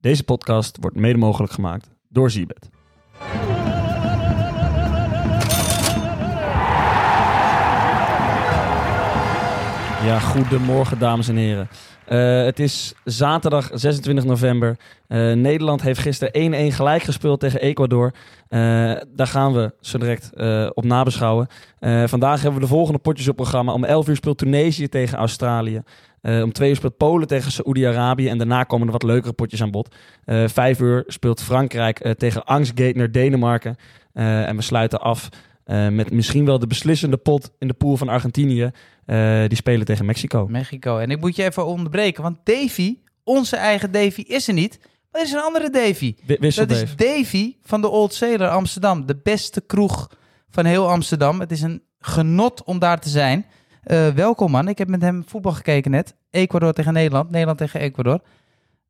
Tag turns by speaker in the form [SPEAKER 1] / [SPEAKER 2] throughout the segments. [SPEAKER 1] Deze podcast wordt mede mogelijk gemaakt door Zibet. Ja, goedemorgen dames en heren. Eh, het is zaterdag 26 november. Eh, Nederland heeft gisteren 1-1 gelijk gespeeld tegen Ecuador. Eh, daar gaan we zo direct eh, op nabeschouwen. Eh, vandaag hebben we de volgende potjes op programma. Om 11 uur speelt Tunesië tegen Australië. Eh, om 2 uur speelt Polen tegen Saoedi-Arabië. En daarna komen er wat leukere potjes aan bod. Eh 5 uur speelt Frankrijk eh, tegen Angstgeitner Denemarken. Eh, en we sluiten af eh, met misschien wel de beslissende pot in de pool van Argentinië. Eh, die spelen tegen Mexico.
[SPEAKER 2] Mexico. En ik moet je even onderbreken, want Davy, onze eigen Davy, is er niet. Maar er is een andere Davy.
[SPEAKER 1] Wi- Wissel
[SPEAKER 2] Dat
[SPEAKER 1] Dave.
[SPEAKER 2] is Davy van de Old Sailor Amsterdam. De beste kroeg van heel Amsterdam. Het is een genot om daar te zijn. Eh, welkom man. Ik heb met hem voetbal gekeken net. Ecuador tegen Nederland. Nederland tegen Ecuador.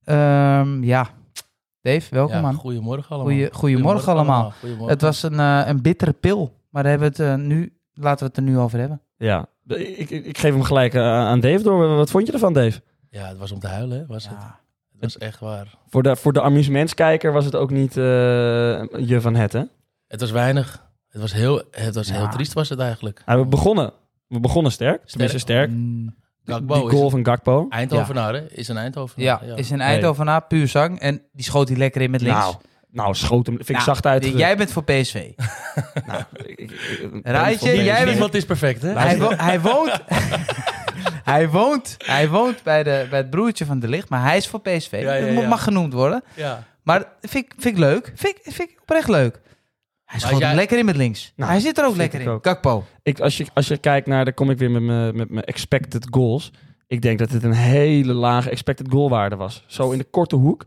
[SPEAKER 2] Ehm, ja, Dave, welkom
[SPEAKER 3] Ja,
[SPEAKER 2] man.
[SPEAKER 3] Goedemorgen allemaal.
[SPEAKER 2] Goeie- goedemorgen allemaal.
[SPEAKER 3] Goedemorgen.
[SPEAKER 2] Het was een, eh, een bittere pil, maar daar hebben we het, eh, nu, laten we het er nu over hebben.
[SPEAKER 1] Ja, ik, ik, ik geef hem gelijk eh, aan Dave door. Wat vond je ervan, Dave?
[SPEAKER 3] Ja, het was om te huilen, hè, was het.
[SPEAKER 2] Ja.
[SPEAKER 3] Het was echt waar.
[SPEAKER 1] Voor de, voor de amusementskijker was het ook niet eh, je van het, hè?
[SPEAKER 3] Het was weinig. Het was heel, het was
[SPEAKER 2] Ja.
[SPEAKER 3] heel triest was het eigenlijk.
[SPEAKER 1] Ah, we, begonnen, we begonnen sterk. Tenminste sterk.
[SPEAKER 2] Mm.
[SPEAKER 3] Gakbo
[SPEAKER 1] die
[SPEAKER 3] is
[SPEAKER 1] goal
[SPEAKER 3] het.
[SPEAKER 1] van Gakpo.
[SPEAKER 3] Eindhovenaar, hè? Is een Eindhovenaar.
[SPEAKER 2] Ja, is een Eindhovenaar, puur zang. En die schoot hij lekker in met links.
[SPEAKER 1] Nou, nou, schoot hem. Vind ik
[SPEAKER 2] Nou,
[SPEAKER 1] zacht uit. Nou,
[SPEAKER 2] Jij bent voor PSV. Raadje, jij bent-
[SPEAKER 3] Niemand is perfect, hè?
[SPEAKER 2] hij, wo- hij woont... hij woont, hij woont bij, de, bij het broertje van De Licht, maar hij is voor PSV.
[SPEAKER 3] Ja, ja,
[SPEAKER 2] Dat
[SPEAKER 3] ja.
[SPEAKER 2] mag genoemd worden.
[SPEAKER 3] Ja.
[SPEAKER 2] Maar vind ik, vind ik leuk. Vind ik, vind ik oprecht leuk. Hij schoot
[SPEAKER 3] jij-
[SPEAKER 2] hem lekker in met links.
[SPEAKER 1] Nou,
[SPEAKER 2] hij zit er ook
[SPEAKER 1] vind
[SPEAKER 2] lekker
[SPEAKER 1] ik
[SPEAKER 2] in.
[SPEAKER 1] ook.
[SPEAKER 2] Kakpo.
[SPEAKER 1] Ik, als, je, als je kijkt naar, daar kom ik weer met mijn met mijn expected goals. Ik denk dat dit een hele lage expected goalwaarde was. Zo in de korte hoek.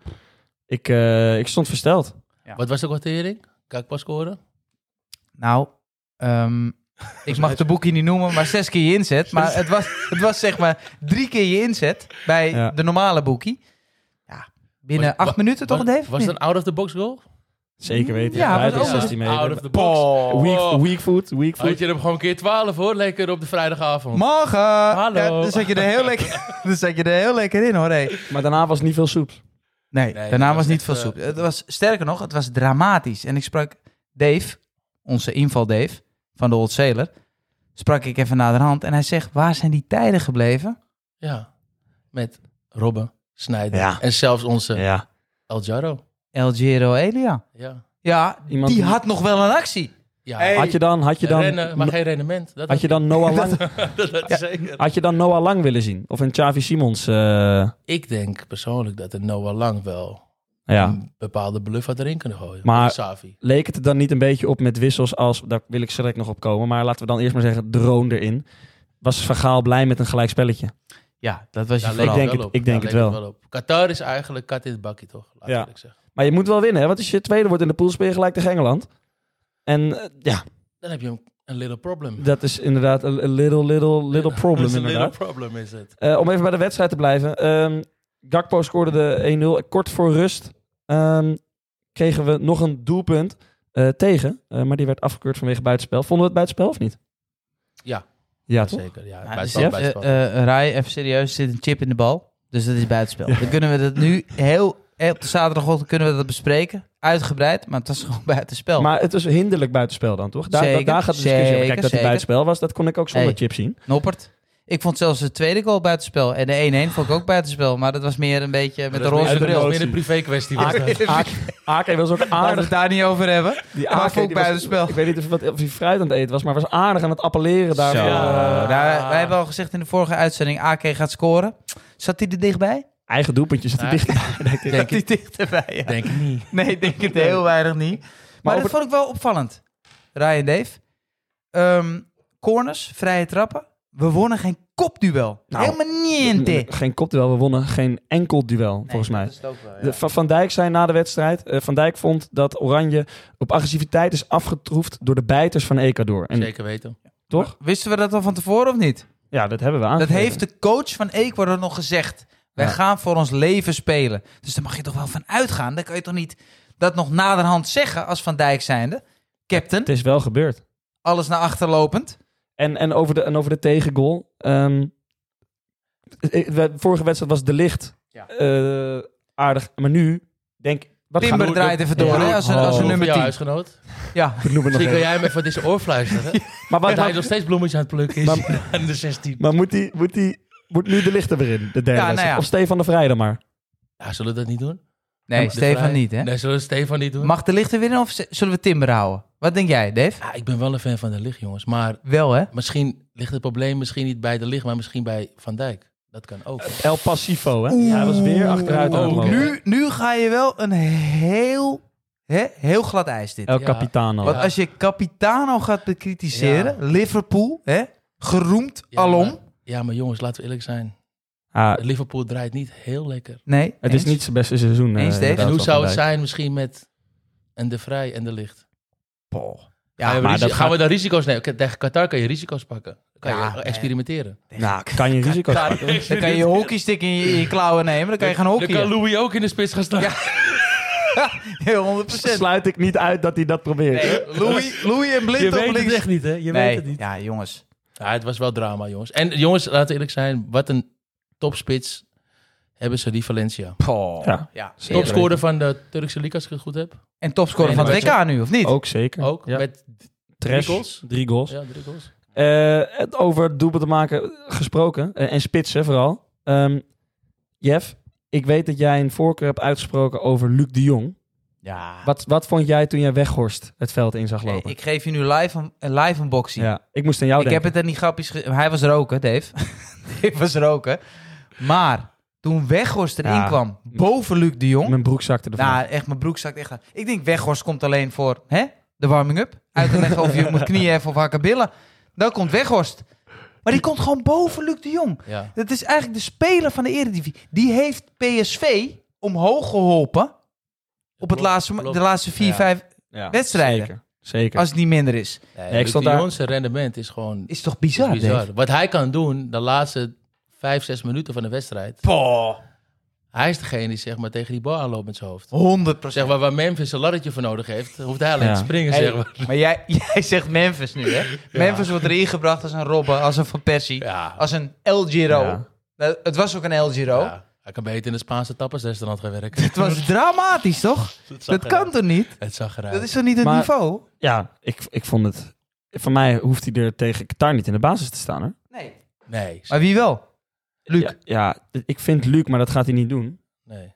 [SPEAKER 1] Ik, eh, ik stond versteld.
[SPEAKER 3] Wat was de kwartering? Kakpa scoren?
[SPEAKER 2] Nou, ehm, ik mag de boekje niet noemen, maar zes keer je inzet. Maar het was, het was zeg maar drie keer je inzet bij
[SPEAKER 1] Ja.
[SPEAKER 2] de normale boekie. Ja, binnen
[SPEAKER 3] Was-
[SPEAKER 2] acht
[SPEAKER 3] wa-
[SPEAKER 2] minuten toch,
[SPEAKER 3] was,
[SPEAKER 2] Dave?
[SPEAKER 3] Was het een out-of-the-box goal?
[SPEAKER 1] Zeker weten.
[SPEAKER 2] Ja,
[SPEAKER 1] Buiten
[SPEAKER 2] was ook-
[SPEAKER 1] 16 meter.
[SPEAKER 3] Out of the box.
[SPEAKER 1] Weak, weak foot, weak
[SPEAKER 3] Oh. Had
[SPEAKER 1] foot.
[SPEAKER 3] je hem gewoon keer 12 hoor, lekker op de vrijdagavond.
[SPEAKER 2] Morgen!
[SPEAKER 3] Hallo.
[SPEAKER 2] Ja, dan, zat je er heel lekker, dan zat je er heel lekker in, hoor. hé.
[SPEAKER 1] Maar daarna was het niet veel soeps.
[SPEAKER 2] Nee,
[SPEAKER 3] Nee,
[SPEAKER 2] daarna was,
[SPEAKER 3] het was
[SPEAKER 2] niet
[SPEAKER 3] echt,
[SPEAKER 2] veel
[SPEAKER 3] eh,
[SPEAKER 2] soep. Het was, sterker nog, het was dramatisch. En ik sprak Dave, onze inval Dave, van de Old Sailor... sprak ik even naderhand en hij zegt... waar zijn die tijden gebleven?
[SPEAKER 3] Ja. Met Robben, Snijder
[SPEAKER 1] Ja.
[SPEAKER 3] en zelfs onze
[SPEAKER 1] Ja.
[SPEAKER 3] El Jaro.
[SPEAKER 2] El Giro Elia.
[SPEAKER 3] Ja.
[SPEAKER 2] Ja,
[SPEAKER 1] Iemand
[SPEAKER 2] die
[SPEAKER 1] die-
[SPEAKER 2] had nog wel een actie.
[SPEAKER 3] ja.
[SPEAKER 2] Hey.
[SPEAKER 1] Had je dan, had je dan,
[SPEAKER 3] Rennen, maar geen rendement. Dat
[SPEAKER 1] had je dan Noah Lang,
[SPEAKER 3] dat, dat zeker.
[SPEAKER 1] had je dan Noah Lang willen zien? Of een Xavi Simons? eh,
[SPEAKER 3] Ik denk persoonlijk dat de Noah Lang wel
[SPEAKER 1] ja.
[SPEAKER 3] een bepaalde bluff had erin kunnen gooien.
[SPEAKER 1] Maar-
[SPEAKER 3] Met Savi.
[SPEAKER 1] Leek het er dan niet een beetje op met wissels als, daar wil ik zo direct nog op komen, maar laten we dan eerst maar zeggen, drone erin. Was Vergaal blij met een gelijk spelletje?
[SPEAKER 2] Ja, dat was je
[SPEAKER 3] Daar
[SPEAKER 2] vooral.
[SPEAKER 3] leek
[SPEAKER 1] denk
[SPEAKER 3] wel
[SPEAKER 1] het-
[SPEAKER 3] op.
[SPEAKER 1] Dus ik denk
[SPEAKER 3] Daar
[SPEAKER 1] het
[SPEAKER 3] leek
[SPEAKER 1] wel.
[SPEAKER 3] op. Qatar is eigenlijk kat in het bakje, toch? Laat
[SPEAKER 1] Ja.
[SPEAKER 3] ik ik zeggen.
[SPEAKER 1] Maar je moet wel winnen, hè? want als je tweede wordt in de pool, speel je gelijk tegen Engeland. En eh, ja,
[SPEAKER 3] Dan heb je een, een little problem.
[SPEAKER 1] dat is inderdaad een een little, little, little
[SPEAKER 3] Dat
[SPEAKER 1] problem
[SPEAKER 3] is een
[SPEAKER 1] inderdaad.
[SPEAKER 3] little problem is het.
[SPEAKER 1] Eh, om even bij de wedstrijd te blijven. ehm, Gakpo scoorde de 1-0. Kort voor rust ehm, kregen we nog een doelpunt eh, tegen. eh, maar die werd afgekeurd vanwege buitenspel. Vonden we het buitenspel of niet?
[SPEAKER 3] Ja.
[SPEAKER 1] Ja, toch?
[SPEAKER 3] Zeker, ja.
[SPEAKER 2] Ja,
[SPEAKER 3] Buitenspel,
[SPEAKER 2] dus, eh,
[SPEAKER 3] buitenspel.
[SPEAKER 2] eh, Rai, even serieus, zit een chip in de bal. Dus dat is buitenspel. Dan kunnen we dat nu heel... heel- Op de zaterdagochtend kunnen we dat bespreken. Uitgebreid, maar het was gewoon buitenspel.
[SPEAKER 1] Maar het is hinderlijk buitenspel dan, toch? Daar,
[SPEAKER 2] Zeker,
[SPEAKER 1] daar gaat de discussie over.
[SPEAKER 2] zeker,
[SPEAKER 1] Kijk, dat het
[SPEAKER 2] zeker.
[SPEAKER 1] buitenspel was, dat kon ik ook zonder
[SPEAKER 2] Hey.
[SPEAKER 1] chip zien.
[SPEAKER 2] Noppert. Ik vond zelfs de tweede goal buitenspel. En de 1-1 vond ik ook buitenspel. Maar dat was meer een beetje met
[SPEAKER 3] Dat
[SPEAKER 2] een
[SPEAKER 3] is meer-
[SPEAKER 2] roze
[SPEAKER 3] dat is
[SPEAKER 2] bril. Ah,
[SPEAKER 3] meer een privé kwestie. was dat.
[SPEAKER 1] Aak, Aak- Aak was ook
[SPEAKER 2] Laten we
[SPEAKER 1] aardig.
[SPEAKER 2] het daar niet over hebben.
[SPEAKER 1] Die
[SPEAKER 2] Maar
[SPEAKER 1] Aak,
[SPEAKER 2] vond ik
[SPEAKER 1] die was-
[SPEAKER 2] buitenspel.
[SPEAKER 1] Ik weet niet of, wat, of hij fruit aan het eten was, maar was aardig aan het appelleren daar. eh,
[SPEAKER 2] Zo.
[SPEAKER 1] Ja.
[SPEAKER 2] Daar- Nou, wij hebben al gezegd in de vorige uitzending... AK gaat scoren. Zat hij er dichtbij?
[SPEAKER 1] Eigen doelpuntje zat hij
[SPEAKER 3] Ja.
[SPEAKER 1] dicht.
[SPEAKER 2] Zat hij dichterbij, ja.
[SPEAKER 3] Denk ik niet.
[SPEAKER 2] Nee, ik denk het heel weinig niet. Maar,
[SPEAKER 1] over-
[SPEAKER 2] dat vond ik wel opvallend, Ryan Dave. Ehm, corners, vrije trappen. We wonnen geen kopduel.
[SPEAKER 1] Nou,
[SPEAKER 2] Helemaal niente.
[SPEAKER 1] Geen kopduel, we wonnen geen enkel duel, volgens mij.
[SPEAKER 2] eh,
[SPEAKER 1] De- Van Van Dijk zei na de wedstrijd... eh, van Dijk vond dat Oranje op agressiviteit is afgetroefd door de bijters van Ecuador. En,
[SPEAKER 3] Zeker weten.
[SPEAKER 1] Toch?
[SPEAKER 2] Wisten we dat al van tevoren of niet?
[SPEAKER 1] Ja, dat hebben we aan.
[SPEAKER 2] Dat heeft de coach van Ecuador nog gezegd. Wij
[SPEAKER 1] Ja.
[SPEAKER 2] gaan voor ons leven spelen. Dus daar mag je toch wel van uitgaan. Dan kan je toch niet dat nog naderhand zeggen als Van Dijk zijnde. Captain,
[SPEAKER 1] Het is wel gebeurd.
[SPEAKER 2] alles naar achter lopend.
[SPEAKER 1] En, en, over, de, en over de tegengoal... ehm, eh, we- vorige wedstrijd was de licht
[SPEAKER 2] Ja.
[SPEAKER 1] eh, aardig. Maar nu denk... Wat
[SPEAKER 2] Timber
[SPEAKER 1] gaan-
[SPEAKER 2] draait even door,
[SPEAKER 1] Ja. Oh,
[SPEAKER 2] hè, als een- als een
[SPEAKER 3] Of
[SPEAKER 2] nummer 10.
[SPEAKER 3] jouw Oh. huisgenoot.
[SPEAKER 2] Ja,
[SPEAKER 1] Benoem het nog
[SPEAKER 3] Misschien
[SPEAKER 1] even.
[SPEAKER 3] kan jij hem even deze oor fluisteren.
[SPEAKER 1] Maar, wat,
[SPEAKER 3] Dat hij
[SPEAKER 1] maar,
[SPEAKER 3] nog steeds bloemetjes aan het plukken is.
[SPEAKER 1] Maar-
[SPEAKER 3] aan de 16.
[SPEAKER 1] maar moet, die, moet, die, moet nu de lichter weer in, de derde
[SPEAKER 2] Ja, nou
[SPEAKER 1] wedstrijd?
[SPEAKER 2] ja.
[SPEAKER 1] Of Stefan de Vrijder maar.
[SPEAKER 3] Ja, zullen we dat niet doen?
[SPEAKER 2] nee,
[SPEAKER 3] De
[SPEAKER 2] Stefan
[SPEAKER 3] Vrij-
[SPEAKER 2] niet, hè?
[SPEAKER 3] Nee, zullen we Stefan niet doen?
[SPEAKER 2] Mag de lichter winnen of z- zullen we Timber houden? Wat denk jij, Dave?
[SPEAKER 3] Ja, ik ben wel een fan van de licht, jongens. Maar
[SPEAKER 2] Wel, hè?
[SPEAKER 3] misschien ligt het probleem misschien niet bij de licht, maar misschien bij Van Dijk. Dat kan ook.
[SPEAKER 1] El Passivo, hè? ja, hij was weer achteruit.
[SPEAKER 3] Oeh.
[SPEAKER 1] aan het lopen.
[SPEAKER 2] Nu, nu ga je wel een heel, hè, heel glad ijs dit.
[SPEAKER 1] El
[SPEAKER 3] Ja.
[SPEAKER 1] Capitano.
[SPEAKER 2] Want als je Capitano gaat bekritiseren, Liverpool, hè, geroemd
[SPEAKER 3] Ja,
[SPEAKER 2] alom.
[SPEAKER 3] maar- Ja, maar jongens, laten we eerlijk zijn.
[SPEAKER 1] Ah,
[SPEAKER 3] Liverpool draait niet heel lekker.
[SPEAKER 2] Nee,
[SPEAKER 1] het
[SPEAKER 2] eens.
[SPEAKER 1] is niet zijn beste seizoen. eh,
[SPEAKER 2] Eens, Dave.
[SPEAKER 1] inderdaad,
[SPEAKER 3] en hoe
[SPEAKER 1] van
[SPEAKER 3] zou het
[SPEAKER 1] Dijk.
[SPEAKER 3] zijn misschien met en de Vrij en de licht?
[SPEAKER 2] Paul.
[SPEAKER 3] Ja,
[SPEAKER 1] maar dat
[SPEAKER 3] gaan
[SPEAKER 1] gaat-
[SPEAKER 3] we dan risico's nemen? Oké, Tegen Qatar kan je risico's pakken. Kan
[SPEAKER 2] Ja,
[SPEAKER 3] je
[SPEAKER 2] nee.
[SPEAKER 3] experimenteren.
[SPEAKER 1] Nou, kan je risico's
[SPEAKER 3] Daar-
[SPEAKER 1] pakken.
[SPEAKER 2] Dan kan je je hockeystick in je, in je klauwen nemen, dan kan je gaan
[SPEAKER 3] Dan kan
[SPEAKER 2] hockeyen.
[SPEAKER 3] Louis ook in de spits gaan staan.
[SPEAKER 2] Ja. Heel 100%.
[SPEAKER 1] Sluit ik niet uit dat hij dat probeert.
[SPEAKER 2] Nee, Louis, Louis en Blind op links.
[SPEAKER 3] niet, hè? Je
[SPEAKER 2] nee, ja jongens.
[SPEAKER 3] Ja, het was wel drama, jongens. En jongens, laten we eerlijk zijn. Wat een topspits hebben ze die Valencia.
[SPEAKER 2] Paul.
[SPEAKER 1] Ja.
[SPEAKER 2] Ja.
[SPEAKER 1] Zeker.
[SPEAKER 3] Topscorer van de Turkse Liga, als ik het goed heb.
[SPEAKER 2] En topscorer van het WK nu, of niet?
[SPEAKER 1] Ook zeker.
[SPEAKER 3] Ook.
[SPEAKER 1] Ja.
[SPEAKER 3] Met
[SPEAKER 1] Trash.
[SPEAKER 3] drie goals.
[SPEAKER 1] Drie goals.
[SPEAKER 3] ja, drie goals.
[SPEAKER 1] Eh, het over doelpunt te maken gesproken. eh, en spitsen vooral. Ehm, Jeff, ik weet dat jij een voorkeur hebt uitgesproken over Luc de Jong.
[SPEAKER 2] Ja.
[SPEAKER 1] Wat, wat vond jij toen jij Weghorst het veld in zag
[SPEAKER 2] Hey,
[SPEAKER 1] lopen?
[SPEAKER 2] ik geef je nu live een, een live unboxing.
[SPEAKER 1] ja, ik moest aan jou
[SPEAKER 2] Oh, ik heb
[SPEAKER 1] denken.
[SPEAKER 2] het er niet grapjes... ge- Hij was roken, Dave. Dave was roken. Maar toen Weghorst erin
[SPEAKER 1] Ja.
[SPEAKER 2] kwam, boven Luc de Jong...
[SPEAKER 1] Mijn broek zakte ervan.
[SPEAKER 2] Nou, echt, mijn broek zakt echt aan. Ik denk, Weghorst komt alleen voor hè, de warming-up. Uit te leggen of je moet knieën even of hakken billen. Dan komt Weghorst. Maar die komt gewoon boven Luc de Jong.
[SPEAKER 3] Ja.
[SPEAKER 2] Dat is eigenlijk de speler van de Eredivisie. Die heeft PSV omhoog geholpen op het
[SPEAKER 3] Klopt,
[SPEAKER 2] laatste,
[SPEAKER 3] klopt.
[SPEAKER 2] de laatste vier,
[SPEAKER 3] Ja.
[SPEAKER 2] vijf,
[SPEAKER 1] Ja,
[SPEAKER 2] wedstrijden.
[SPEAKER 1] Zeker. zeker.
[SPEAKER 2] als het niet minder is.
[SPEAKER 3] Nee,
[SPEAKER 1] Nee, ik
[SPEAKER 3] Luc
[SPEAKER 1] stond
[SPEAKER 3] de
[SPEAKER 1] daar-
[SPEAKER 3] Jong, zijn rendement is gewoon
[SPEAKER 2] Is toch bizar,
[SPEAKER 3] bizar.
[SPEAKER 2] Dave?
[SPEAKER 3] Wat hij kan doen, de laatste vijf, zes minuten van de wedstrijd.
[SPEAKER 2] Poh,
[SPEAKER 3] Hij is degene die zeg maar, tegen die bal aanloopt met zijn hoofd.
[SPEAKER 2] 100
[SPEAKER 3] Zeg maar, waar Memphis een laddertje voor nodig heeft, hoeft hij alleen
[SPEAKER 1] Ja.
[SPEAKER 3] te springen.
[SPEAKER 2] Hey,
[SPEAKER 3] Zeg maar.
[SPEAKER 2] maar jij, jij zegt Memphis nu, hè? Memphis wordt erin gebracht als een Robben, als een Van Persie,
[SPEAKER 3] Ja.
[SPEAKER 2] als een El Giro.
[SPEAKER 1] Ja.
[SPEAKER 2] Nou, het was ook een El Giro.
[SPEAKER 3] Ja, Hij kan beter in de Spaanse tapasrestaurant gaan werken.
[SPEAKER 2] Het was dramatisch, toch? Dat kan toch niet?
[SPEAKER 3] Het zag eruit.
[SPEAKER 2] Dat is toch niet het
[SPEAKER 1] Maar-
[SPEAKER 2] niveau?
[SPEAKER 1] Ja, ik, ik vond het... Voor mij hoeft hij er tegen Qatar niet in de basis te staan, hè?
[SPEAKER 2] Nee.
[SPEAKER 3] Nee.
[SPEAKER 2] Maar wie wel? Luc.
[SPEAKER 1] Ja, ja, ik vind Luc, maar dat gaat hij niet doen.
[SPEAKER 3] nee.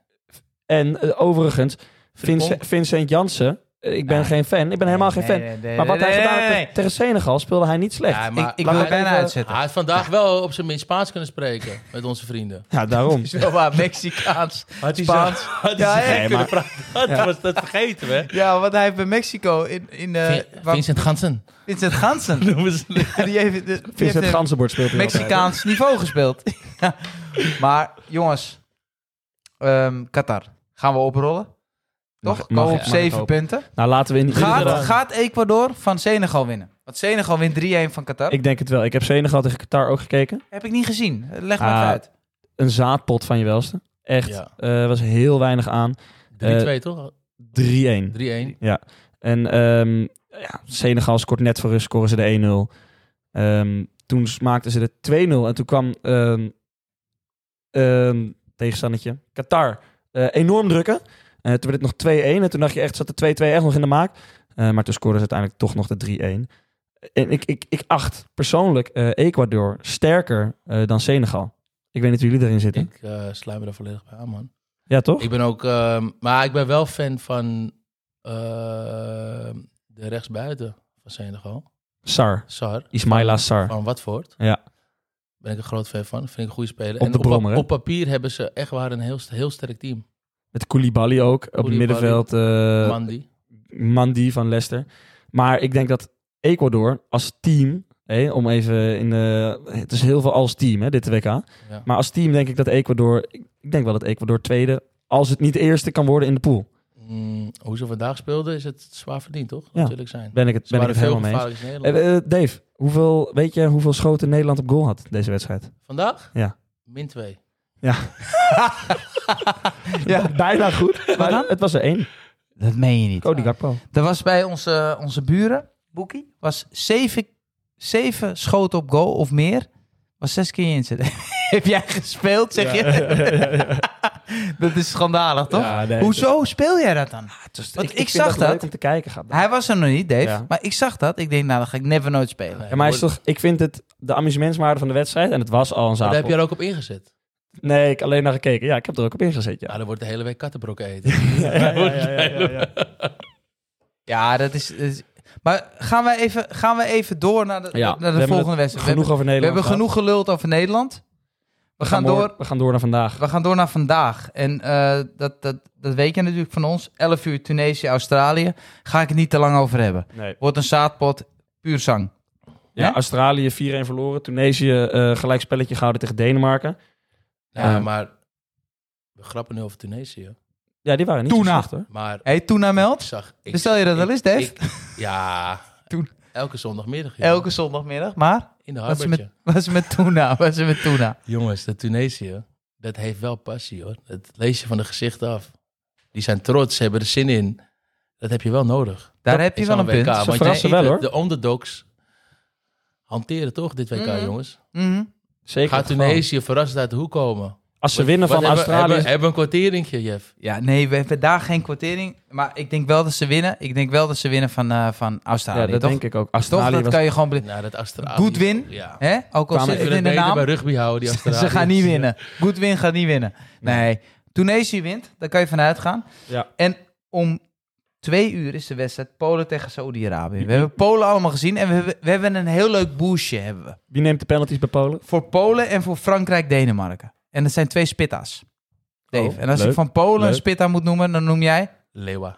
[SPEAKER 1] En eh, overigens,
[SPEAKER 3] Frimpong?
[SPEAKER 1] Vincent, Vincent Jansen... eh, ik ben
[SPEAKER 2] Ah.
[SPEAKER 1] geen fan. Ik ben helemaal geen fan. Maar wat hij gedaan heeft
[SPEAKER 2] heeft...
[SPEAKER 1] tegen Senegal speelde hij niet slecht.
[SPEAKER 3] Ja,
[SPEAKER 2] Ik,
[SPEAKER 3] maar
[SPEAKER 2] ik
[SPEAKER 3] laat
[SPEAKER 2] wil het
[SPEAKER 3] ik
[SPEAKER 2] bijna
[SPEAKER 3] even-
[SPEAKER 2] uitzetten.
[SPEAKER 3] Hij had vandaag wel op zijn minst Spaans kunnen spreken met onze vrienden.
[SPEAKER 1] Ja, daarom.
[SPEAKER 2] Is wel waar, Oh, Mexicaans.
[SPEAKER 3] Had hij
[SPEAKER 2] Spaans.
[SPEAKER 3] zo- had
[SPEAKER 2] Ja,
[SPEAKER 3] hij zo
[SPEAKER 2] hè?
[SPEAKER 3] gek kunnen praten. Dat was dat vergeten we.
[SPEAKER 2] Ja, want hij heeft bij Mexico in... in eh waar-
[SPEAKER 3] Vincent Gansen.
[SPEAKER 2] Vincent Gansen. Die
[SPEAKER 3] Noemen ze hem.
[SPEAKER 2] heeft, die heeft
[SPEAKER 1] Vincent
[SPEAKER 2] een
[SPEAKER 1] Gansenbord speelt hij altijd.
[SPEAKER 2] Mexicaans niveau gespeeld. Ja. Maar jongens, ehm, Qatar. Gaan we oprollen?
[SPEAKER 1] Mag-
[SPEAKER 2] Toch?
[SPEAKER 1] mag, ja.
[SPEAKER 2] Komen op
[SPEAKER 1] Mag ik
[SPEAKER 2] zeven
[SPEAKER 1] hopen.
[SPEAKER 2] punten.
[SPEAKER 1] Nou, laten we in ieder geval-
[SPEAKER 2] Gaat, gaat Ecuador van Senegal winnen? Want Senegal wint 3-1 van Qatar.
[SPEAKER 1] Ik denk het wel. Ik heb Senegal tegen Qatar ook gekeken.
[SPEAKER 2] Heb ik niet gezien. Leg maar
[SPEAKER 1] Ah,
[SPEAKER 2] even uit.
[SPEAKER 1] Een zaadpot van je welste. Echt.
[SPEAKER 3] Ja.
[SPEAKER 1] Eh, was heel weinig aan.
[SPEAKER 3] 3-2 toch?
[SPEAKER 1] 3-1.
[SPEAKER 3] 3-1.
[SPEAKER 1] En ehm, ja, Senegal scoort net voor rust, scoren ze de 1-0. Ehm, toen s- maakten ze de 2-0. En toen kwam ehm ehm, tegenstandertje Qatar eh, enorm drukken. Eh, toen werd het nog 2-1. En toen dacht je echt, zat de 2-2 echt nog in de maak. Eh, maar toen scoorden ze uiteindelijk toch nog de 3-1. En ik, ik, ik acht persoonlijk eh, Ecuador sterker eh, dan Senegal. Ik weet niet hoe jullie erin zitten.
[SPEAKER 3] Ik eh sluit me daar volledig bij aan, man.
[SPEAKER 1] Ja, toch?
[SPEAKER 3] Ik ben ook... ehm, maar ik ben wel fan van ehm, de rechtsbuiten van Senegal.
[SPEAKER 1] Sar.
[SPEAKER 3] Sar.
[SPEAKER 1] Ismaila Sar.
[SPEAKER 3] Van Watford.
[SPEAKER 1] Ja.
[SPEAKER 3] Ben ik een groot fan van. Vind ik een goede speler.
[SPEAKER 1] Op de brommer, hè?
[SPEAKER 3] op, papier hebben ze echt waar een heel, st- heel sterk team.
[SPEAKER 1] Met Koulibaly ook. Op het
[SPEAKER 3] Koulibaly.
[SPEAKER 1] middenveld. eh,
[SPEAKER 3] Mandy.
[SPEAKER 1] Mandy van Leicester. Maar ik denk dat Ecuador als team, hè, om even in de, het is heel veel als team, hè, dit WK.
[SPEAKER 3] Ja.
[SPEAKER 1] Maar als team denk ik dat Ecuador, ik ik denk wel dat Ecuador tweede, als het niet eerste kan worden in de pool.
[SPEAKER 3] Mm, hoe ze vandaag speelden is het zwaar verdiend, toch?
[SPEAKER 1] Ja.
[SPEAKER 3] Natuurlijk zijn.
[SPEAKER 1] Ben ik het,
[SPEAKER 3] Ze
[SPEAKER 1] ben ik
[SPEAKER 3] waren
[SPEAKER 1] het
[SPEAKER 3] veel
[SPEAKER 1] helemaal mee eens.
[SPEAKER 3] gevaarlijker dan Nederland.
[SPEAKER 1] Eh, eh, Dave, hoeveel, weet je hoeveel schoten Nederland op goal had deze wedstrijd?
[SPEAKER 3] Vandaag?
[SPEAKER 1] Ja.
[SPEAKER 3] Min 2.
[SPEAKER 2] Ja.
[SPEAKER 1] Bijna goed, maar
[SPEAKER 2] dan?
[SPEAKER 1] het was er één.
[SPEAKER 2] Dat meen je niet.
[SPEAKER 1] Cody Gakpo.
[SPEAKER 2] Er was bij onze, onze buren, Boekie, was zeven, zeven schoten op goal of meer. Was zes keer je inzet. heb jij gespeeld, zeg je? dat is schandalig, toch?
[SPEAKER 1] Ja, nee,
[SPEAKER 2] Hoezo speel jij dat dan?
[SPEAKER 1] het is-
[SPEAKER 2] Want ik
[SPEAKER 1] vind
[SPEAKER 2] zag dat.
[SPEAKER 1] leuk om te kijken. Gaat
[SPEAKER 2] Hij was er nog niet, Dave.
[SPEAKER 1] Ja.
[SPEAKER 2] Maar ik zag dat. Ik denk, nou, dat ga ik never nooit spelen.
[SPEAKER 1] ja, maar hij is toch, ik vind het de amusementswaarde van de wedstrijd. En het was al een
[SPEAKER 3] Daar heb
[SPEAKER 1] zaterdag.
[SPEAKER 3] je er ook op ingezet.
[SPEAKER 1] Nee, ik alleen naar gekeken. Ja, ik heb er ook op ingezet. Ja.
[SPEAKER 3] Nou, dan wordt de hele week kattenbrok eten.
[SPEAKER 2] Ja, dat is... dat is- Maar gaan we even, gaan we even door naar de,
[SPEAKER 1] Ja, we
[SPEAKER 2] naar
[SPEAKER 1] hebben
[SPEAKER 2] de
[SPEAKER 1] het
[SPEAKER 2] volgende wedstrijd? We
[SPEAKER 1] Genoeg over Nederland.
[SPEAKER 2] hebben, we hebben
[SPEAKER 1] gehad.
[SPEAKER 2] genoeg geluld over Nederland. We, gaan
[SPEAKER 1] mor-
[SPEAKER 2] door,
[SPEAKER 1] We gaan door naar vandaag.
[SPEAKER 2] we gaan door naar vandaag. En eh, dat, dat, dat weet je natuurlijk van ons. 11 uur Tunesië, Australië. Ga ik het niet te lang over hebben.
[SPEAKER 1] Nee.
[SPEAKER 2] Wordt een zaadpot, puur zang.
[SPEAKER 1] Ja,
[SPEAKER 2] Hè?
[SPEAKER 1] Australië 4-1 verloren. Tunesië eh gelijk spelletje gehouden tegen Denemarken.
[SPEAKER 3] Ja,
[SPEAKER 1] Eh.
[SPEAKER 3] maar we grappen nu over Tunesië.
[SPEAKER 1] Ja, die waren niet
[SPEAKER 2] Tuna.
[SPEAKER 1] zo slecht hoor.
[SPEAKER 3] Maar
[SPEAKER 2] Hey, Tuna
[SPEAKER 3] ik
[SPEAKER 2] Meld.
[SPEAKER 3] zag... Ik,
[SPEAKER 2] Bestel je dat wel eens, Dave?
[SPEAKER 3] ik- ja,
[SPEAKER 2] Toen.
[SPEAKER 3] elke zondagmiddag. joh.
[SPEAKER 2] Elke zondagmiddag. Maar
[SPEAKER 3] In de
[SPEAKER 2] wat is,
[SPEAKER 3] harbertje.
[SPEAKER 2] met, wat is met Tuna? Wat is er met Tuna?
[SPEAKER 3] Jongens, de Tunesië, dat heeft wel passie hoor. Dat lees je van de gezicht af. Die zijn trots, ze hebben er zin in. Dat heb je wel nodig.
[SPEAKER 2] Daar
[SPEAKER 3] Dat
[SPEAKER 2] heb je
[SPEAKER 3] is
[SPEAKER 2] wel
[SPEAKER 3] aan
[SPEAKER 2] een punt. Ze
[SPEAKER 3] WK, want jij
[SPEAKER 1] verrassen
[SPEAKER 3] ziet
[SPEAKER 1] wel,
[SPEAKER 3] het, De underdogs hanteren toch dit WK,
[SPEAKER 2] Mhm.
[SPEAKER 3] jongens.
[SPEAKER 2] Mhm.
[SPEAKER 1] Zeker.
[SPEAKER 3] Gaat
[SPEAKER 1] het geval.
[SPEAKER 3] Tunesië verrassend uit de hoek komen.
[SPEAKER 1] Als ze winnen
[SPEAKER 3] Wat
[SPEAKER 1] van
[SPEAKER 3] hebben-
[SPEAKER 1] Australië.
[SPEAKER 3] Hebben, hebben een kwarteringje, Jeff.
[SPEAKER 2] Ja, nee, we hebben daar geen kwartering. Maar ik denk wel dat ze winnen. Ik denk wel dat ze winnen van, eh, van Australië.
[SPEAKER 1] ja, dat
[SPEAKER 2] toch?
[SPEAKER 1] denk ik ook.
[SPEAKER 2] toch?
[SPEAKER 1] Australië
[SPEAKER 2] Dat
[SPEAKER 1] was
[SPEAKER 2] kan je gewoon... be-
[SPEAKER 3] Nou, dat Australië.
[SPEAKER 2] Goodwin?
[SPEAKER 3] Ja.
[SPEAKER 2] Hè? Ook al
[SPEAKER 1] Kwamen
[SPEAKER 2] zit
[SPEAKER 3] Ik
[SPEAKER 2] het
[SPEAKER 3] vind
[SPEAKER 2] in
[SPEAKER 3] het
[SPEAKER 2] de
[SPEAKER 3] beter
[SPEAKER 2] naam.
[SPEAKER 3] bij rugby houden, die Australiërs.
[SPEAKER 2] Ze gaan niet winnen. Goodwin gaat niet winnen. Nee, Tunesië wint. Daar kan je vanuit gaan.
[SPEAKER 1] Ja.
[SPEAKER 2] En om twee uur is de wedstrijd Polen tegen Saoedi-Arabië. We hebben Polen allemaal gezien. En we hebben, we hebben een heel leuk boosje hebben we.
[SPEAKER 1] Wie neemt de penalties bij Polen?
[SPEAKER 2] Voor Polen en voor Frankrijk-Denemarken. En dat zijn twee spitta's. Dave.
[SPEAKER 1] Oh,
[SPEAKER 2] en als ik
[SPEAKER 1] leuk.
[SPEAKER 2] van Polen een
[SPEAKER 1] Leuk.
[SPEAKER 2] spitta moet noemen, dan noem jij.
[SPEAKER 3] Leeuwa.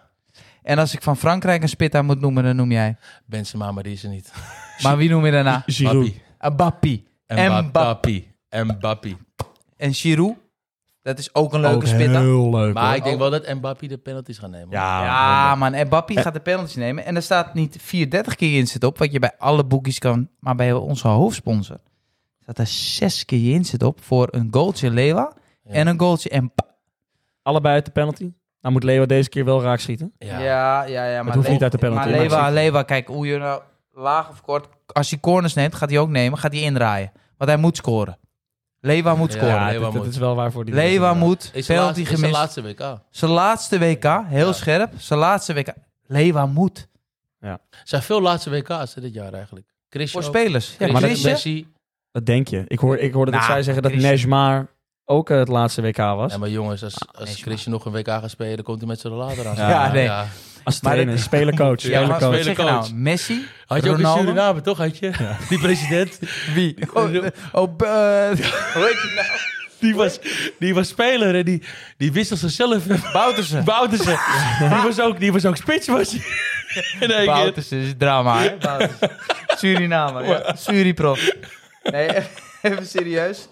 [SPEAKER 2] En als ik van Frankrijk een spitta moet noemen, dan noem jij.
[SPEAKER 3] Benzema, maar die is er niet.
[SPEAKER 2] Maar wie noem je daarna?
[SPEAKER 1] Giroud.
[SPEAKER 3] Papi.
[SPEAKER 2] Mbappé
[SPEAKER 3] En
[SPEAKER 2] Mbappé.
[SPEAKER 3] Mbappé. Mbappé.
[SPEAKER 2] en Giroud. Dat is ook een leuke spitta.
[SPEAKER 1] heel leuk.
[SPEAKER 3] Maar ik denk wel dat Mbappé de penalties gaat nemen.
[SPEAKER 1] Ja,
[SPEAKER 2] Ja, man. En Bappie gaat de penalties nemen. En er staat niet 430 keer inzet op, wat je bij alle boekjes kan. Maar bij onze hoofdsponsor staat er 6 keer je inzet op voor een goaltje Lewa
[SPEAKER 3] Ja.
[SPEAKER 2] en een goaltje en
[SPEAKER 1] Allebei uit de penalty. Nou moet Leo deze keer wel raak schieten.
[SPEAKER 3] Ja.
[SPEAKER 2] ja,
[SPEAKER 1] maar hoeft Le- niet uit de penalty,
[SPEAKER 2] Maar
[SPEAKER 1] maar
[SPEAKER 2] Lewa,
[SPEAKER 1] precies.
[SPEAKER 2] Lewa, kijk, hoe je nou laag of kort... Als hij corners neemt, gaat hij ook nemen, gaat hij indraaien. Want hij moet scoren. Lewa moet
[SPEAKER 3] Ja,
[SPEAKER 2] scoren.
[SPEAKER 3] Lewa
[SPEAKER 1] dat, dat
[SPEAKER 3] moet.
[SPEAKER 1] is wel waarvoor die.
[SPEAKER 2] Lewa moet,
[SPEAKER 3] Is zijn
[SPEAKER 2] penalty
[SPEAKER 3] laatste, is
[SPEAKER 2] gemist.
[SPEAKER 3] zijn laatste WK.
[SPEAKER 2] Zijn laatste WK, heel
[SPEAKER 3] Ja.
[SPEAKER 2] scherp. Zijn laatste WK. Lewa moet.
[SPEAKER 3] zijn veel laatste WK's hè, dit jaar eigenlijk. Christian
[SPEAKER 2] Voor
[SPEAKER 3] ook.
[SPEAKER 2] spelers. Ja,
[SPEAKER 1] maar dat-
[SPEAKER 2] Chrisje-
[SPEAKER 3] Messi.
[SPEAKER 1] Dat denk je. Ik hoorde, ik hoorde dat
[SPEAKER 2] Nou,
[SPEAKER 1] zij zeggen dat
[SPEAKER 2] Christian-
[SPEAKER 1] Nejmar ook eh, het laatste WK was.
[SPEAKER 3] Ja, maar jongens, als,
[SPEAKER 2] nee,
[SPEAKER 3] als Christian nog een WK gaat spelen, dan komt hij met z'n later aan.
[SPEAKER 1] Ja,
[SPEAKER 2] nee.
[SPEAKER 1] Als
[SPEAKER 2] maar
[SPEAKER 1] trainer,
[SPEAKER 2] dat-
[SPEAKER 1] spelercoach.
[SPEAKER 3] Ja, maar-
[SPEAKER 1] spelercoach.
[SPEAKER 2] wat zeg je nou?
[SPEAKER 3] Spelercoach.
[SPEAKER 2] Messi?
[SPEAKER 3] Had je ook in
[SPEAKER 2] Ronaldo?
[SPEAKER 3] Suriname, toch? Had je? Die president,
[SPEAKER 2] Wie? Oh, eh, oh, eh, hoe heet die nou?
[SPEAKER 3] nou? die was, die was speler en die, die wisselde zichzelf.
[SPEAKER 2] Boutersen.
[SPEAKER 3] Boutersen. Die was ook, die was ook spits, was hij. In één keer.
[SPEAKER 2] Boutersen is drama, hè? Boutersen. Suriname, ja. Suriprof. Nee, even serieus.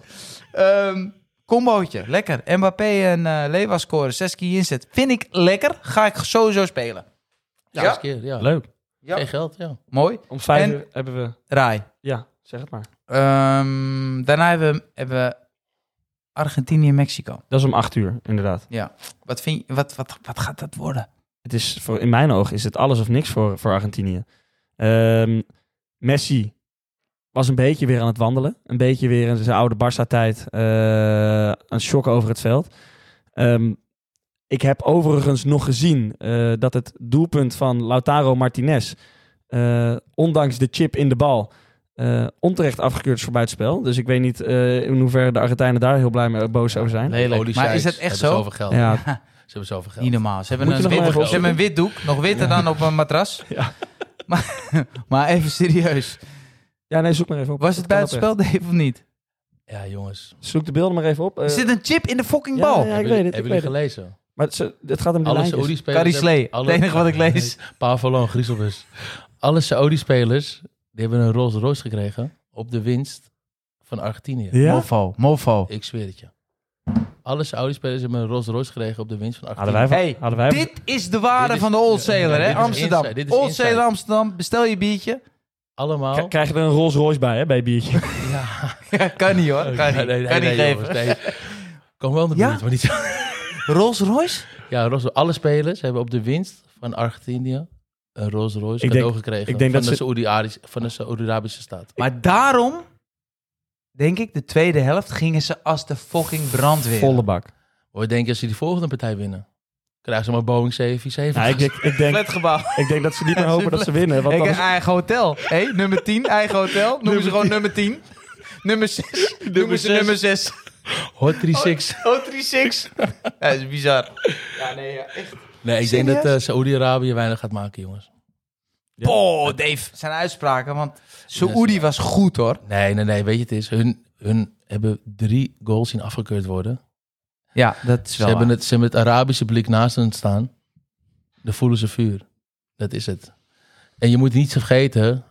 [SPEAKER 2] Ehm combootje, lekker. Mbappé en eh Lewa scoren, zes keer inzet. Vind ik lekker, ga ik sowieso spelen.
[SPEAKER 3] Ja,
[SPEAKER 2] Ja.
[SPEAKER 3] eens keer, ja.
[SPEAKER 1] Leuk.
[SPEAKER 2] Ja.
[SPEAKER 3] Geen geld, ja.
[SPEAKER 2] Mooi.
[SPEAKER 1] Om vijf
[SPEAKER 2] En-
[SPEAKER 1] uur hebben we...
[SPEAKER 2] Rai.
[SPEAKER 1] Ja, zeg het maar.
[SPEAKER 2] Ehm, daarna hebben we, hebben we Argentinië en Mexico.
[SPEAKER 1] Dat is om acht uur, inderdaad.
[SPEAKER 2] Wat, vind je, wat, wat, wat gaat dat worden?
[SPEAKER 1] Het is voor, in mijn ogen is het alles of niks voor, voor Argentinië. Ehm, Messi was een beetje weer aan het wandelen. Een beetje weer in zijn oude Barca-tijd. eh, aan het shocken over het veld. Ehm, ik heb overigens nog gezien eh, dat het doelpunt van Lautaro Martinez... eh, ondanks de chip in de bal... eh, onterecht afgekeurd is voor buitenspel. Dus ik weet niet eh, in hoeverre de Argentijnen daar heel blij mee eh, boos over zijn.
[SPEAKER 2] Lelijk.
[SPEAKER 3] Olie
[SPEAKER 2] Maar is
[SPEAKER 3] Sykes.
[SPEAKER 2] dat echt
[SPEAKER 3] Hebben
[SPEAKER 2] zo?
[SPEAKER 3] Zoveel geld.
[SPEAKER 1] Ja,
[SPEAKER 3] Ze hebben zoveel geld.
[SPEAKER 2] Niet normaal. Ze hebben,
[SPEAKER 1] Moet je
[SPEAKER 2] een
[SPEAKER 1] nog
[SPEAKER 2] wit,
[SPEAKER 1] maar even
[SPEAKER 2] ze hebben een wit doek. Nog witter dan op een matras.
[SPEAKER 1] Ja.
[SPEAKER 2] Maar, maar even serieus.
[SPEAKER 1] ja nee, zoek maar even op.
[SPEAKER 2] Was het
[SPEAKER 1] Dat kan
[SPEAKER 2] buitenspel, Dave, of niet?
[SPEAKER 3] Eh, Ja, jongens.
[SPEAKER 1] oprecht. Zoek de beelden maar even op. eh,
[SPEAKER 2] Er zit een chip in de fucking
[SPEAKER 1] ja,
[SPEAKER 2] bal.
[SPEAKER 1] ja,
[SPEAKER 3] Hebben
[SPEAKER 1] ik
[SPEAKER 3] jullie-
[SPEAKER 1] weet het. Ik
[SPEAKER 3] Hebben
[SPEAKER 1] weet
[SPEAKER 3] jullie
[SPEAKER 1] het.
[SPEAKER 3] gelezen?
[SPEAKER 1] Maar het, ze- het gaat om de
[SPEAKER 3] Alle
[SPEAKER 1] lijntjes.
[SPEAKER 3] Saoedi-spelers...
[SPEAKER 2] Carrie
[SPEAKER 3] hebben-
[SPEAKER 2] Slee,
[SPEAKER 3] alle-
[SPEAKER 2] het enige wat ik lees.
[SPEAKER 3] Pavalo en Griezelbus. Alle Saoedi-spelers die hebben een Rolls Royce gekregen op de winst van Argentinië.
[SPEAKER 1] Ja?
[SPEAKER 2] Mofo, mofo.
[SPEAKER 3] Ik zweer het je. Alle Saoedi-spelers hebben een Rolls Royce gekregen op de winst van
[SPEAKER 1] Hadden
[SPEAKER 3] Argentinië.
[SPEAKER 1] wij, van-
[SPEAKER 2] Hey,
[SPEAKER 1] hadden wij
[SPEAKER 2] Dit is de waarde
[SPEAKER 3] Dit is-
[SPEAKER 2] van de Old Sailor,
[SPEAKER 3] dit
[SPEAKER 2] hè?
[SPEAKER 3] is
[SPEAKER 2] Amsterdam.
[SPEAKER 3] inside, dit is
[SPEAKER 2] Old
[SPEAKER 3] inside.
[SPEAKER 2] Sailor Amsterdam, bestel je biertje.
[SPEAKER 3] Allemaal.
[SPEAKER 1] K- krijg je er een Rolls Royce bij, hè, bij biertje.
[SPEAKER 3] Ja.
[SPEAKER 2] Ja, kan niet hoor, kan niet,
[SPEAKER 3] Nee, nee,
[SPEAKER 2] kan
[SPEAKER 3] nee,
[SPEAKER 2] niet
[SPEAKER 3] nee,
[SPEAKER 2] geven.
[SPEAKER 3] jongens, nee. Kom wel in de
[SPEAKER 2] Ja?
[SPEAKER 3] buurt, maar niet zo.
[SPEAKER 2] Rolls Royce?
[SPEAKER 3] Ja, Rolls Royce. alle spelers hebben op de winst van Argentinië een Rolls Royce
[SPEAKER 1] Ik
[SPEAKER 3] cadeau
[SPEAKER 1] denk-
[SPEAKER 3] gekregen
[SPEAKER 1] ik denk
[SPEAKER 3] van,
[SPEAKER 1] dat
[SPEAKER 3] de
[SPEAKER 1] ze-
[SPEAKER 3] Saoedi-Arabische- van de Saoedi-Arabische staat.
[SPEAKER 2] Maar daarom denk ik, de tweede helft gingen ze als de fucking brandweer.
[SPEAKER 1] Volle bak.
[SPEAKER 3] Hoor, denk je als ze die volgende partij winnen? Krijgen ze maar Boeing 747.
[SPEAKER 1] Ja, Nou, ik, ik, ik, denk,
[SPEAKER 2] Flatgebouw.
[SPEAKER 1] ik denk dat ze niet meer hopen dat ze winnen. Want
[SPEAKER 2] Ik
[SPEAKER 1] dan
[SPEAKER 2] heb
[SPEAKER 1] is,
[SPEAKER 2] eigen hotel. Hé, nummer 10, eigen hotel. Noemen ze gewoon nummer 10. Nummer 6. Noemen ze
[SPEAKER 3] zes.
[SPEAKER 2] nummer 6.
[SPEAKER 3] Hot 36.
[SPEAKER 2] Oh, 36. Ja, dat is bizar. Ja, nee, ja, echt.
[SPEAKER 1] Oh,
[SPEAKER 3] Nee, ik denk
[SPEAKER 2] Serieus?
[SPEAKER 3] dat eh Saoedi-Arabië weinig gaat maken, jongens.
[SPEAKER 1] Ja.
[SPEAKER 2] Boah, Dave. Zijn uitspraken, want Saoedi was goed hoor.
[SPEAKER 3] Nee, nee, nee. Weet je, het is. Hun, hun hebben drie goals zien afgekeurd worden.
[SPEAKER 2] Ja, dat is
[SPEAKER 3] Ze hebben, het, ze hebben het Arabische blik naast hen staan. Dan voelen ze vuur. Dat is het. En je moet niet vergeten,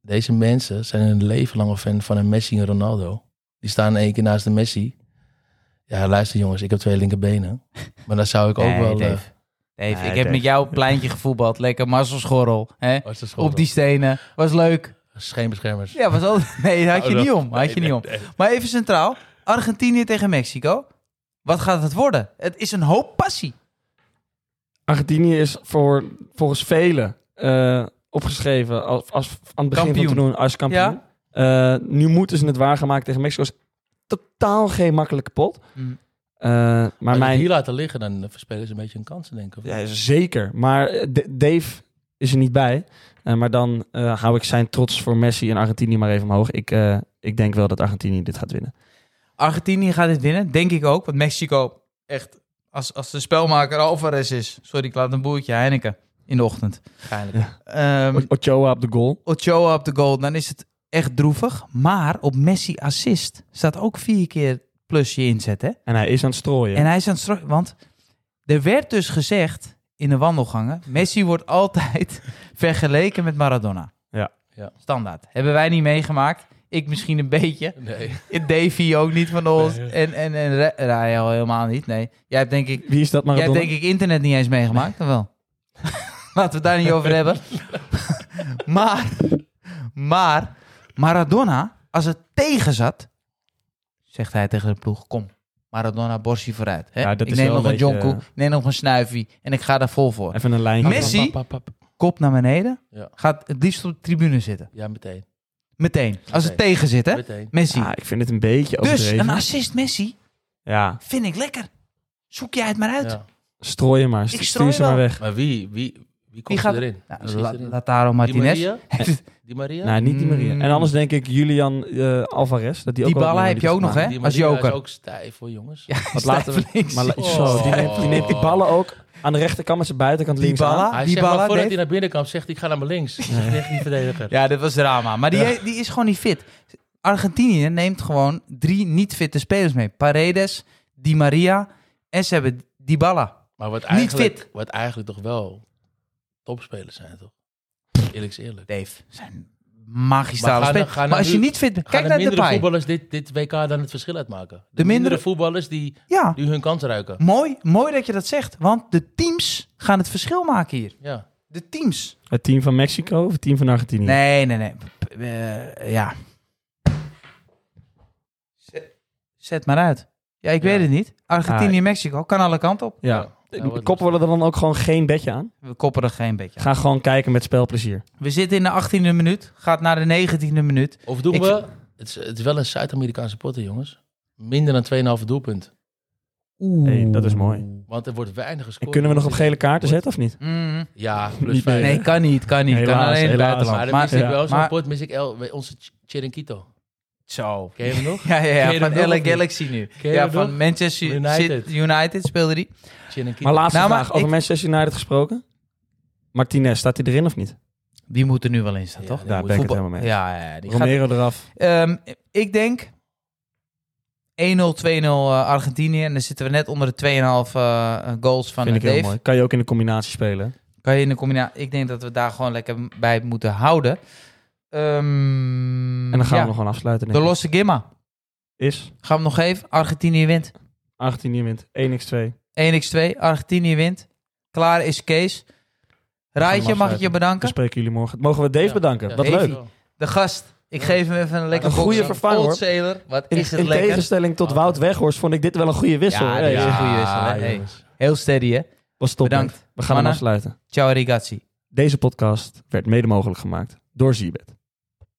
[SPEAKER 3] deze mensen zijn een leven lang een fan van een Messi en Ronaldo. Die staan in één keer naast de Messi. Ja, luister jongens, ik heb twee linkerbenen. Maar dan zou ik ook
[SPEAKER 2] Nee,
[SPEAKER 3] wel...
[SPEAKER 2] Dave.
[SPEAKER 3] eh,
[SPEAKER 2] Dave, ik
[SPEAKER 1] Nee,
[SPEAKER 2] heb
[SPEAKER 1] Dave.
[SPEAKER 2] met jou op pleintje gevoetbald. Lekker mazzelschorrel. Hè?
[SPEAKER 3] eh, als de school-
[SPEAKER 2] Op die stenen. Was leuk.
[SPEAKER 3] Scheenbeschermers.
[SPEAKER 2] Ja, was al... Nee, had je
[SPEAKER 3] Oh,
[SPEAKER 2] niet om. Had je niet om. Maar even centraal. Argentinië tegen Mexico. Wat gaat het worden? Het is een hoop passie.
[SPEAKER 1] Argentinië is voor, volgens velen eh, opgeschreven als, als, aan het begin van
[SPEAKER 2] Kampioen.
[SPEAKER 1] het toernooi als kampioen.
[SPEAKER 2] Ja.
[SPEAKER 1] Eh, nu moeten ze het waargemaakt tegen Mexico. Is totaal geen makkelijke pot.
[SPEAKER 2] Mm.
[SPEAKER 1] Eh, maar
[SPEAKER 3] Maar
[SPEAKER 1] mijn...
[SPEAKER 3] hier laten liggen, dan verspelen ze een beetje hun kansen, denk ik.
[SPEAKER 1] Ja, zeker. Maar eh, D- Dave is er niet bij. Eh, maar dan eh, hou ik zijn trots voor Messi en Argentinië maar even omhoog. Ik, eh, ik denk wel dat Argentinië dit gaat winnen.
[SPEAKER 2] Argentinië gaat dit winnen, denk ik ook. Want Mexico, echt, als, als de spelmaker Alvarez is. Sorry, ik laat een boertje Heineken in de ochtend.
[SPEAKER 3] Waarschijnlijk.
[SPEAKER 2] Ehm,
[SPEAKER 1] O- Ochoa op de goal.
[SPEAKER 2] Ochoa op de goal, dan is het echt droevig. Maar op Messi assist staat ook vier keer plus je inzet, hè?
[SPEAKER 1] En hij is aan het strooien.
[SPEAKER 2] En hij is aan het stro- Want er werd dus gezegd in de wandelgangen... Messi wordt altijd vergeleken met Maradona.
[SPEAKER 1] Ja.
[SPEAKER 3] Ja.
[SPEAKER 2] Standaard. Hebben wij niet meegemaakt. Ik misschien een beetje.
[SPEAKER 3] Nee.
[SPEAKER 2] Davy ook niet van ons.
[SPEAKER 3] Nee.
[SPEAKER 2] En, en, en Ra- Rael helemaal niet. Nee. Jij hebt denk ik,
[SPEAKER 1] Wie is dat
[SPEAKER 2] jij hebt
[SPEAKER 1] Maradona?
[SPEAKER 2] denk ik internet niet eens meegemaakt, of wel? Laten we het daar niet over hebben. maar, maar, Maradona, als het tegen zat, zegt hij tegen de ploeg, kom. Maradona, borstje vooruit. Hè?
[SPEAKER 1] Ja, dat
[SPEAKER 2] ik
[SPEAKER 1] is
[SPEAKER 2] neem
[SPEAKER 1] wel
[SPEAKER 2] nog
[SPEAKER 1] een
[SPEAKER 2] een
[SPEAKER 1] beetje-
[SPEAKER 2] jonko, ik neem nog een snuifie en ik ga daar vol voor.
[SPEAKER 1] Even een lijntje.
[SPEAKER 2] Messi?
[SPEAKER 3] Pap, pap, pap.
[SPEAKER 2] Kop naar beneden,
[SPEAKER 3] Ja.
[SPEAKER 2] gaat het liefst op de tribune zitten.
[SPEAKER 3] Ja, meteen.
[SPEAKER 2] Meteen, als het tegen zit, hè?
[SPEAKER 3] Meteen.
[SPEAKER 2] Messi.
[SPEAKER 1] Ja, Ah, ik vind het een beetje
[SPEAKER 2] dus,
[SPEAKER 1] overdreven.
[SPEAKER 2] een assist Messi,
[SPEAKER 1] Ja,
[SPEAKER 2] vind ik lekker. Zoek jij het maar uit.
[SPEAKER 3] Ja.
[SPEAKER 1] strooien maar.
[SPEAKER 2] Ik
[SPEAKER 1] Ik stuur
[SPEAKER 2] strooi
[SPEAKER 1] ze maar
[SPEAKER 2] wel.
[SPEAKER 1] weg.
[SPEAKER 3] Maar wie, wie, wie komt
[SPEAKER 2] gaat-
[SPEAKER 3] erin?
[SPEAKER 2] Nou,
[SPEAKER 3] Wie schiet
[SPEAKER 2] La-
[SPEAKER 3] erin?
[SPEAKER 2] Lautaro
[SPEAKER 3] Die
[SPEAKER 2] Martinez.
[SPEAKER 3] Maria? Die Maria?
[SPEAKER 1] Nou, niet die Maria.
[SPEAKER 2] Mm.
[SPEAKER 1] En anders denk ik Julian eh, Alvarez. Dat die ook
[SPEAKER 2] Die
[SPEAKER 1] wel
[SPEAKER 2] ballen
[SPEAKER 1] een
[SPEAKER 2] heb je ook nog,
[SPEAKER 1] maakt.
[SPEAKER 2] hè?
[SPEAKER 3] Die
[SPEAKER 2] Als
[SPEAKER 3] Maria
[SPEAKER 2] joker.
[SPEAKER 3] is ook stijf hoor, jongens.
[SPEAKER 1] Wat laten we-
[SPEAKER 2] Stijf links.
[SPEAKER 1] Maar la-
[SPEAKER 3] Oh.
[SPEAKER 1] zo, die neemt, die neemt
[SPEAKER 2] Oh.
[SPEAKER 1] die ballen ook aan de rechterkant met zijn buitenkant
[SPEAKER 2] Die
[SPEAKER 1] links aan.
[SPEAKER 2] ballen,
[SPEAKER 3] Hij
[SPEAKER 2] die
[SPEAKER 3] zegt maar
[SPEAKER 2] ballen,
[SPEAKER 3] voordat
[SPEAKER 2] Dave.
[SPEAKER 3] hij naar binnen kwam, zegt hij, ik ga naar mijn links. Dat is echt niet verdediger.
[SPEAKER 2] Ja, dit was drama. Maar die, die is gewoon niet fit. Argentinië neemt gewoon drie niet fitte spelers mee. Paredes, Di Maria en ze hebben Dybala.
[SPEAKER 3] Maar wat
[SPEAKER 2] Niet
[SPEAKER 3] eigenlijk,
[SPEAKER 2] fit.
[SPEAKER 3] wat eigenlijk toch wel topspelers zijn, toch? Eerlijk is eerlijk.
[SPEAKER 2] Dave, zijn magistrale
[SPEAKER 3] Maar gaan er-
[SPEAKER 2] spelers.
[SPEAKER 3] gaan er
[SPEAKER 2] Maar als je
[SPEAKER 3] nu-
[SPEAKER 2] niet fit bent,
[SPEAKER 3] Gaan
[SPEAKER 2] kijk
[SPEAKER 3] de
[SPEAKER 2] naar
[SPEAKER 3] mindere
[SPEAKER 2] Depay.
[SPEAKER 3] voetballers dit, dit WK dan het verschil uitmaken? De,
[SPEAKER 2] mindere-
[SPEAKER 3] mindere... voetballers die
[SPEAKER 2] Ja,
[SPEAKER 3] nu hun kans ruiken.
[SPEAKER 2] mooi, mooi dat je dat zegt. Want de teams gaan het verschil maken hier.
[SPEAKER 3] Ja.
[SPEAKER 2] De teams.
[SPEAKER 1] Het team van Mexico of het team van Argentinië?
[SPEAKER 2] Nee, nee, nee. P- eh, ja. Zet, zet maar uit. Ja, ik
[SPEAKER 3] Ja. Ah,
[SPEAKER 2] weet het niet. Argentinië, Mexico. Kan alle kanten op.
[SPEAKER 1] Ja.
[SPEAKER 3] Ja, wordt
[SPEAKER 1] Koppen we er dan ook gewoon geen bedje aan?
[SPEAKER 2] We kopperen geen beetje.
[SPEAKER 1] Ga gewoon kijken met spelplezier.
[SPEAKER 2] We zitten in de 18e minuut. Gaat naar de 19e minuut.
[SPEAKER 3] Of doen
[SPEAKER 2] Ik-
[SPEAKER 3] we... Het is, het is wel een Zuid-Amerikaanse potter, jongens. Minder dan 2,5 doelpunt.
[SPEAKER 2] Oeh.
[SPEAKER 1] Hey, dat is mooi.
[SPEAKER 3] Want er wordt weinig gescoord.
[SPEAKER 1] En kunnen we nog op gele kaarten zetten of niet?
[SPEAKER 2] Mhm.
[SPEAKER 3] Ja, plus
[SPEAKER 1] Niet
[SPEAKER 3] vijf.
[SPEAKER 2] Nee, kan niet. Kan niet. kan
[SPEAKER 1] Helaas,
[SPEAKER 2] alleen in het
[SPEAKER 1] helaas.
[SPEAKER 3] Maar
[SPEAKER 2] buitenland. Maar,
[SPEAKER 3] dan mis ik
[SPEAKER 1] Oh, ja,
[SPEAKER 3] wel zo'n
[SPEAKER 2] maar-
[SPEAKER 3] pot, mis ik El, bij onze Ch- Chiringuito.
[SPEAKER 2] zo.
[SPEAKER 3] Ken je hem nog?
[SPEAKER 2] Ja, ja,
[SPEAKER 3] Ken
[SPEAKER 2] ja
[SPEAKER 3] je
[SPEAKER 2] van
[SPEAKER 3] dat nog
[SPEAKER 2] LA
[SPEAKER 3] of niet?
[SPEAKER 2] Galaxy nu.
[SPEAKER 3] Ken je
[SPEAKER 2] Ja,
[SPEAKER 3] dat
[SPEAKER 2] van
[SPEAKER 3] nog?
[SPEAKER 2] Manchester United,
[SPEAKER 3] United.
[SPEAKER 2] United speelde die.
[SPEAKER 3] Chiringuito.
[SPEAKER 1] Maar laatste
[SPEAKER 2] Nou, maar
[SPEAKER 1] vraag, over
[SPEAKER 2] ik-
[SPEAKER 1] Manchester United gesproken. Martinez, staat hij erin of niet?
[SPEAKER 2] Die moet er nu wel in staan,
[SPEAKER 3] Ja,
[SPEAKER 2] toch?
[SPEAKER 3] die
[SPEAKER 1] Daar ben ik het
[SPEAKER 2] Voetbal-
[SPEAKER 1] helemaal mee.
[SPEAKER 2] Ja, ja, ja, die gaat
[SPEAKER 1] Romero eraf.
[SPEAKER 2] Ehm, ik denk 1-0, 2-0 eh, Argentinië. En dan zitten we net onder de 2,5 eh, goals van
[SPEAKER 1] Vind ik
[SPEAKER 2] eh,
[SPEAKER 1] heel
[SPEAKER 2] Dave.
[SPEAKER 1] mooi. Kan je ook in de combinatie spelen.
[SPEAKER 2] Kan je in de combinatie... Ik denk dat we daar gewoon lekker bij moeten houden. Ehm,
[SPEAKER 1] En dan gaan
[SPEAKER 2] Mm, ja,
[SPEAKER 1] we nog gewoon afsluiten. denk
[SPEAKER 2] De
[SPEAKER 1] ik.
[SPEAKER 2] losse gimma.
[SPEAKER 1] Is
[SPEAKER 2] Gaan we hem nog even. Argentinië wint.
[SPEAKER 1] 18 wint. 1x2.
[SPEAKER 2] 1x2. Argentinië wint. Klaar is Kees. Raadje, mag ik je
[SPEAKER 1] afsluiten.
[SPEAKER 2] bedanken?
[SPEAKER 1] Dan spreken jullie morgen. Mogen we Dave
[SPEAKER 3] Ja.
[SPEAKER 1] bedanken?
[SPEAKER 3] Ja,
[SPEAKER 1] Wat
[SPEAKER 2] Dave.
[SPEAKER 1] leuk.
[SPEAKER 2] De gast. Ik
[SPEAKER 3] Ja.
[SPEAKER 2] geef hem even een lekker
[SPEAKER 1] Dus- Een goede
[SPEAKER 2] box.
[SPEAKER 1] vervanger,
[SPEAKER 2] Old
[SPEAKER 1] hoor.
[SPEAKER 2] Sailor. Wat
[SPEAKER 1] In,
[SPEAKER 2] is het
[SPEAKER 1] in
[SPEAKER 2] lekker. Oh.
[SPEAKER 1] tegenstelling tot Wout Weghorst vond ik dit wel een goede wissel.
[SPEAKER 2] Ja,
[SPEAKER 1] Hey,
[SPEAKER 2] dit is een goede wissel, hè? Hey.
[SPEAKER 3] jongens.
[SPEAKER 2] Heel steady, hè?
[SPEAKER 1] Was top.
[SPEAKER 2] Bedankt.
[SPEAKER 1] man. We gaan
[SPEAKER 2] Mannen.
[SPEAKER 1] hem afsluiten.
[SPEAKER 2] Ciao, ragazzi.
[SPEAKER 1] Deze podcast werd mede mogelijk gemaakt door Zibet.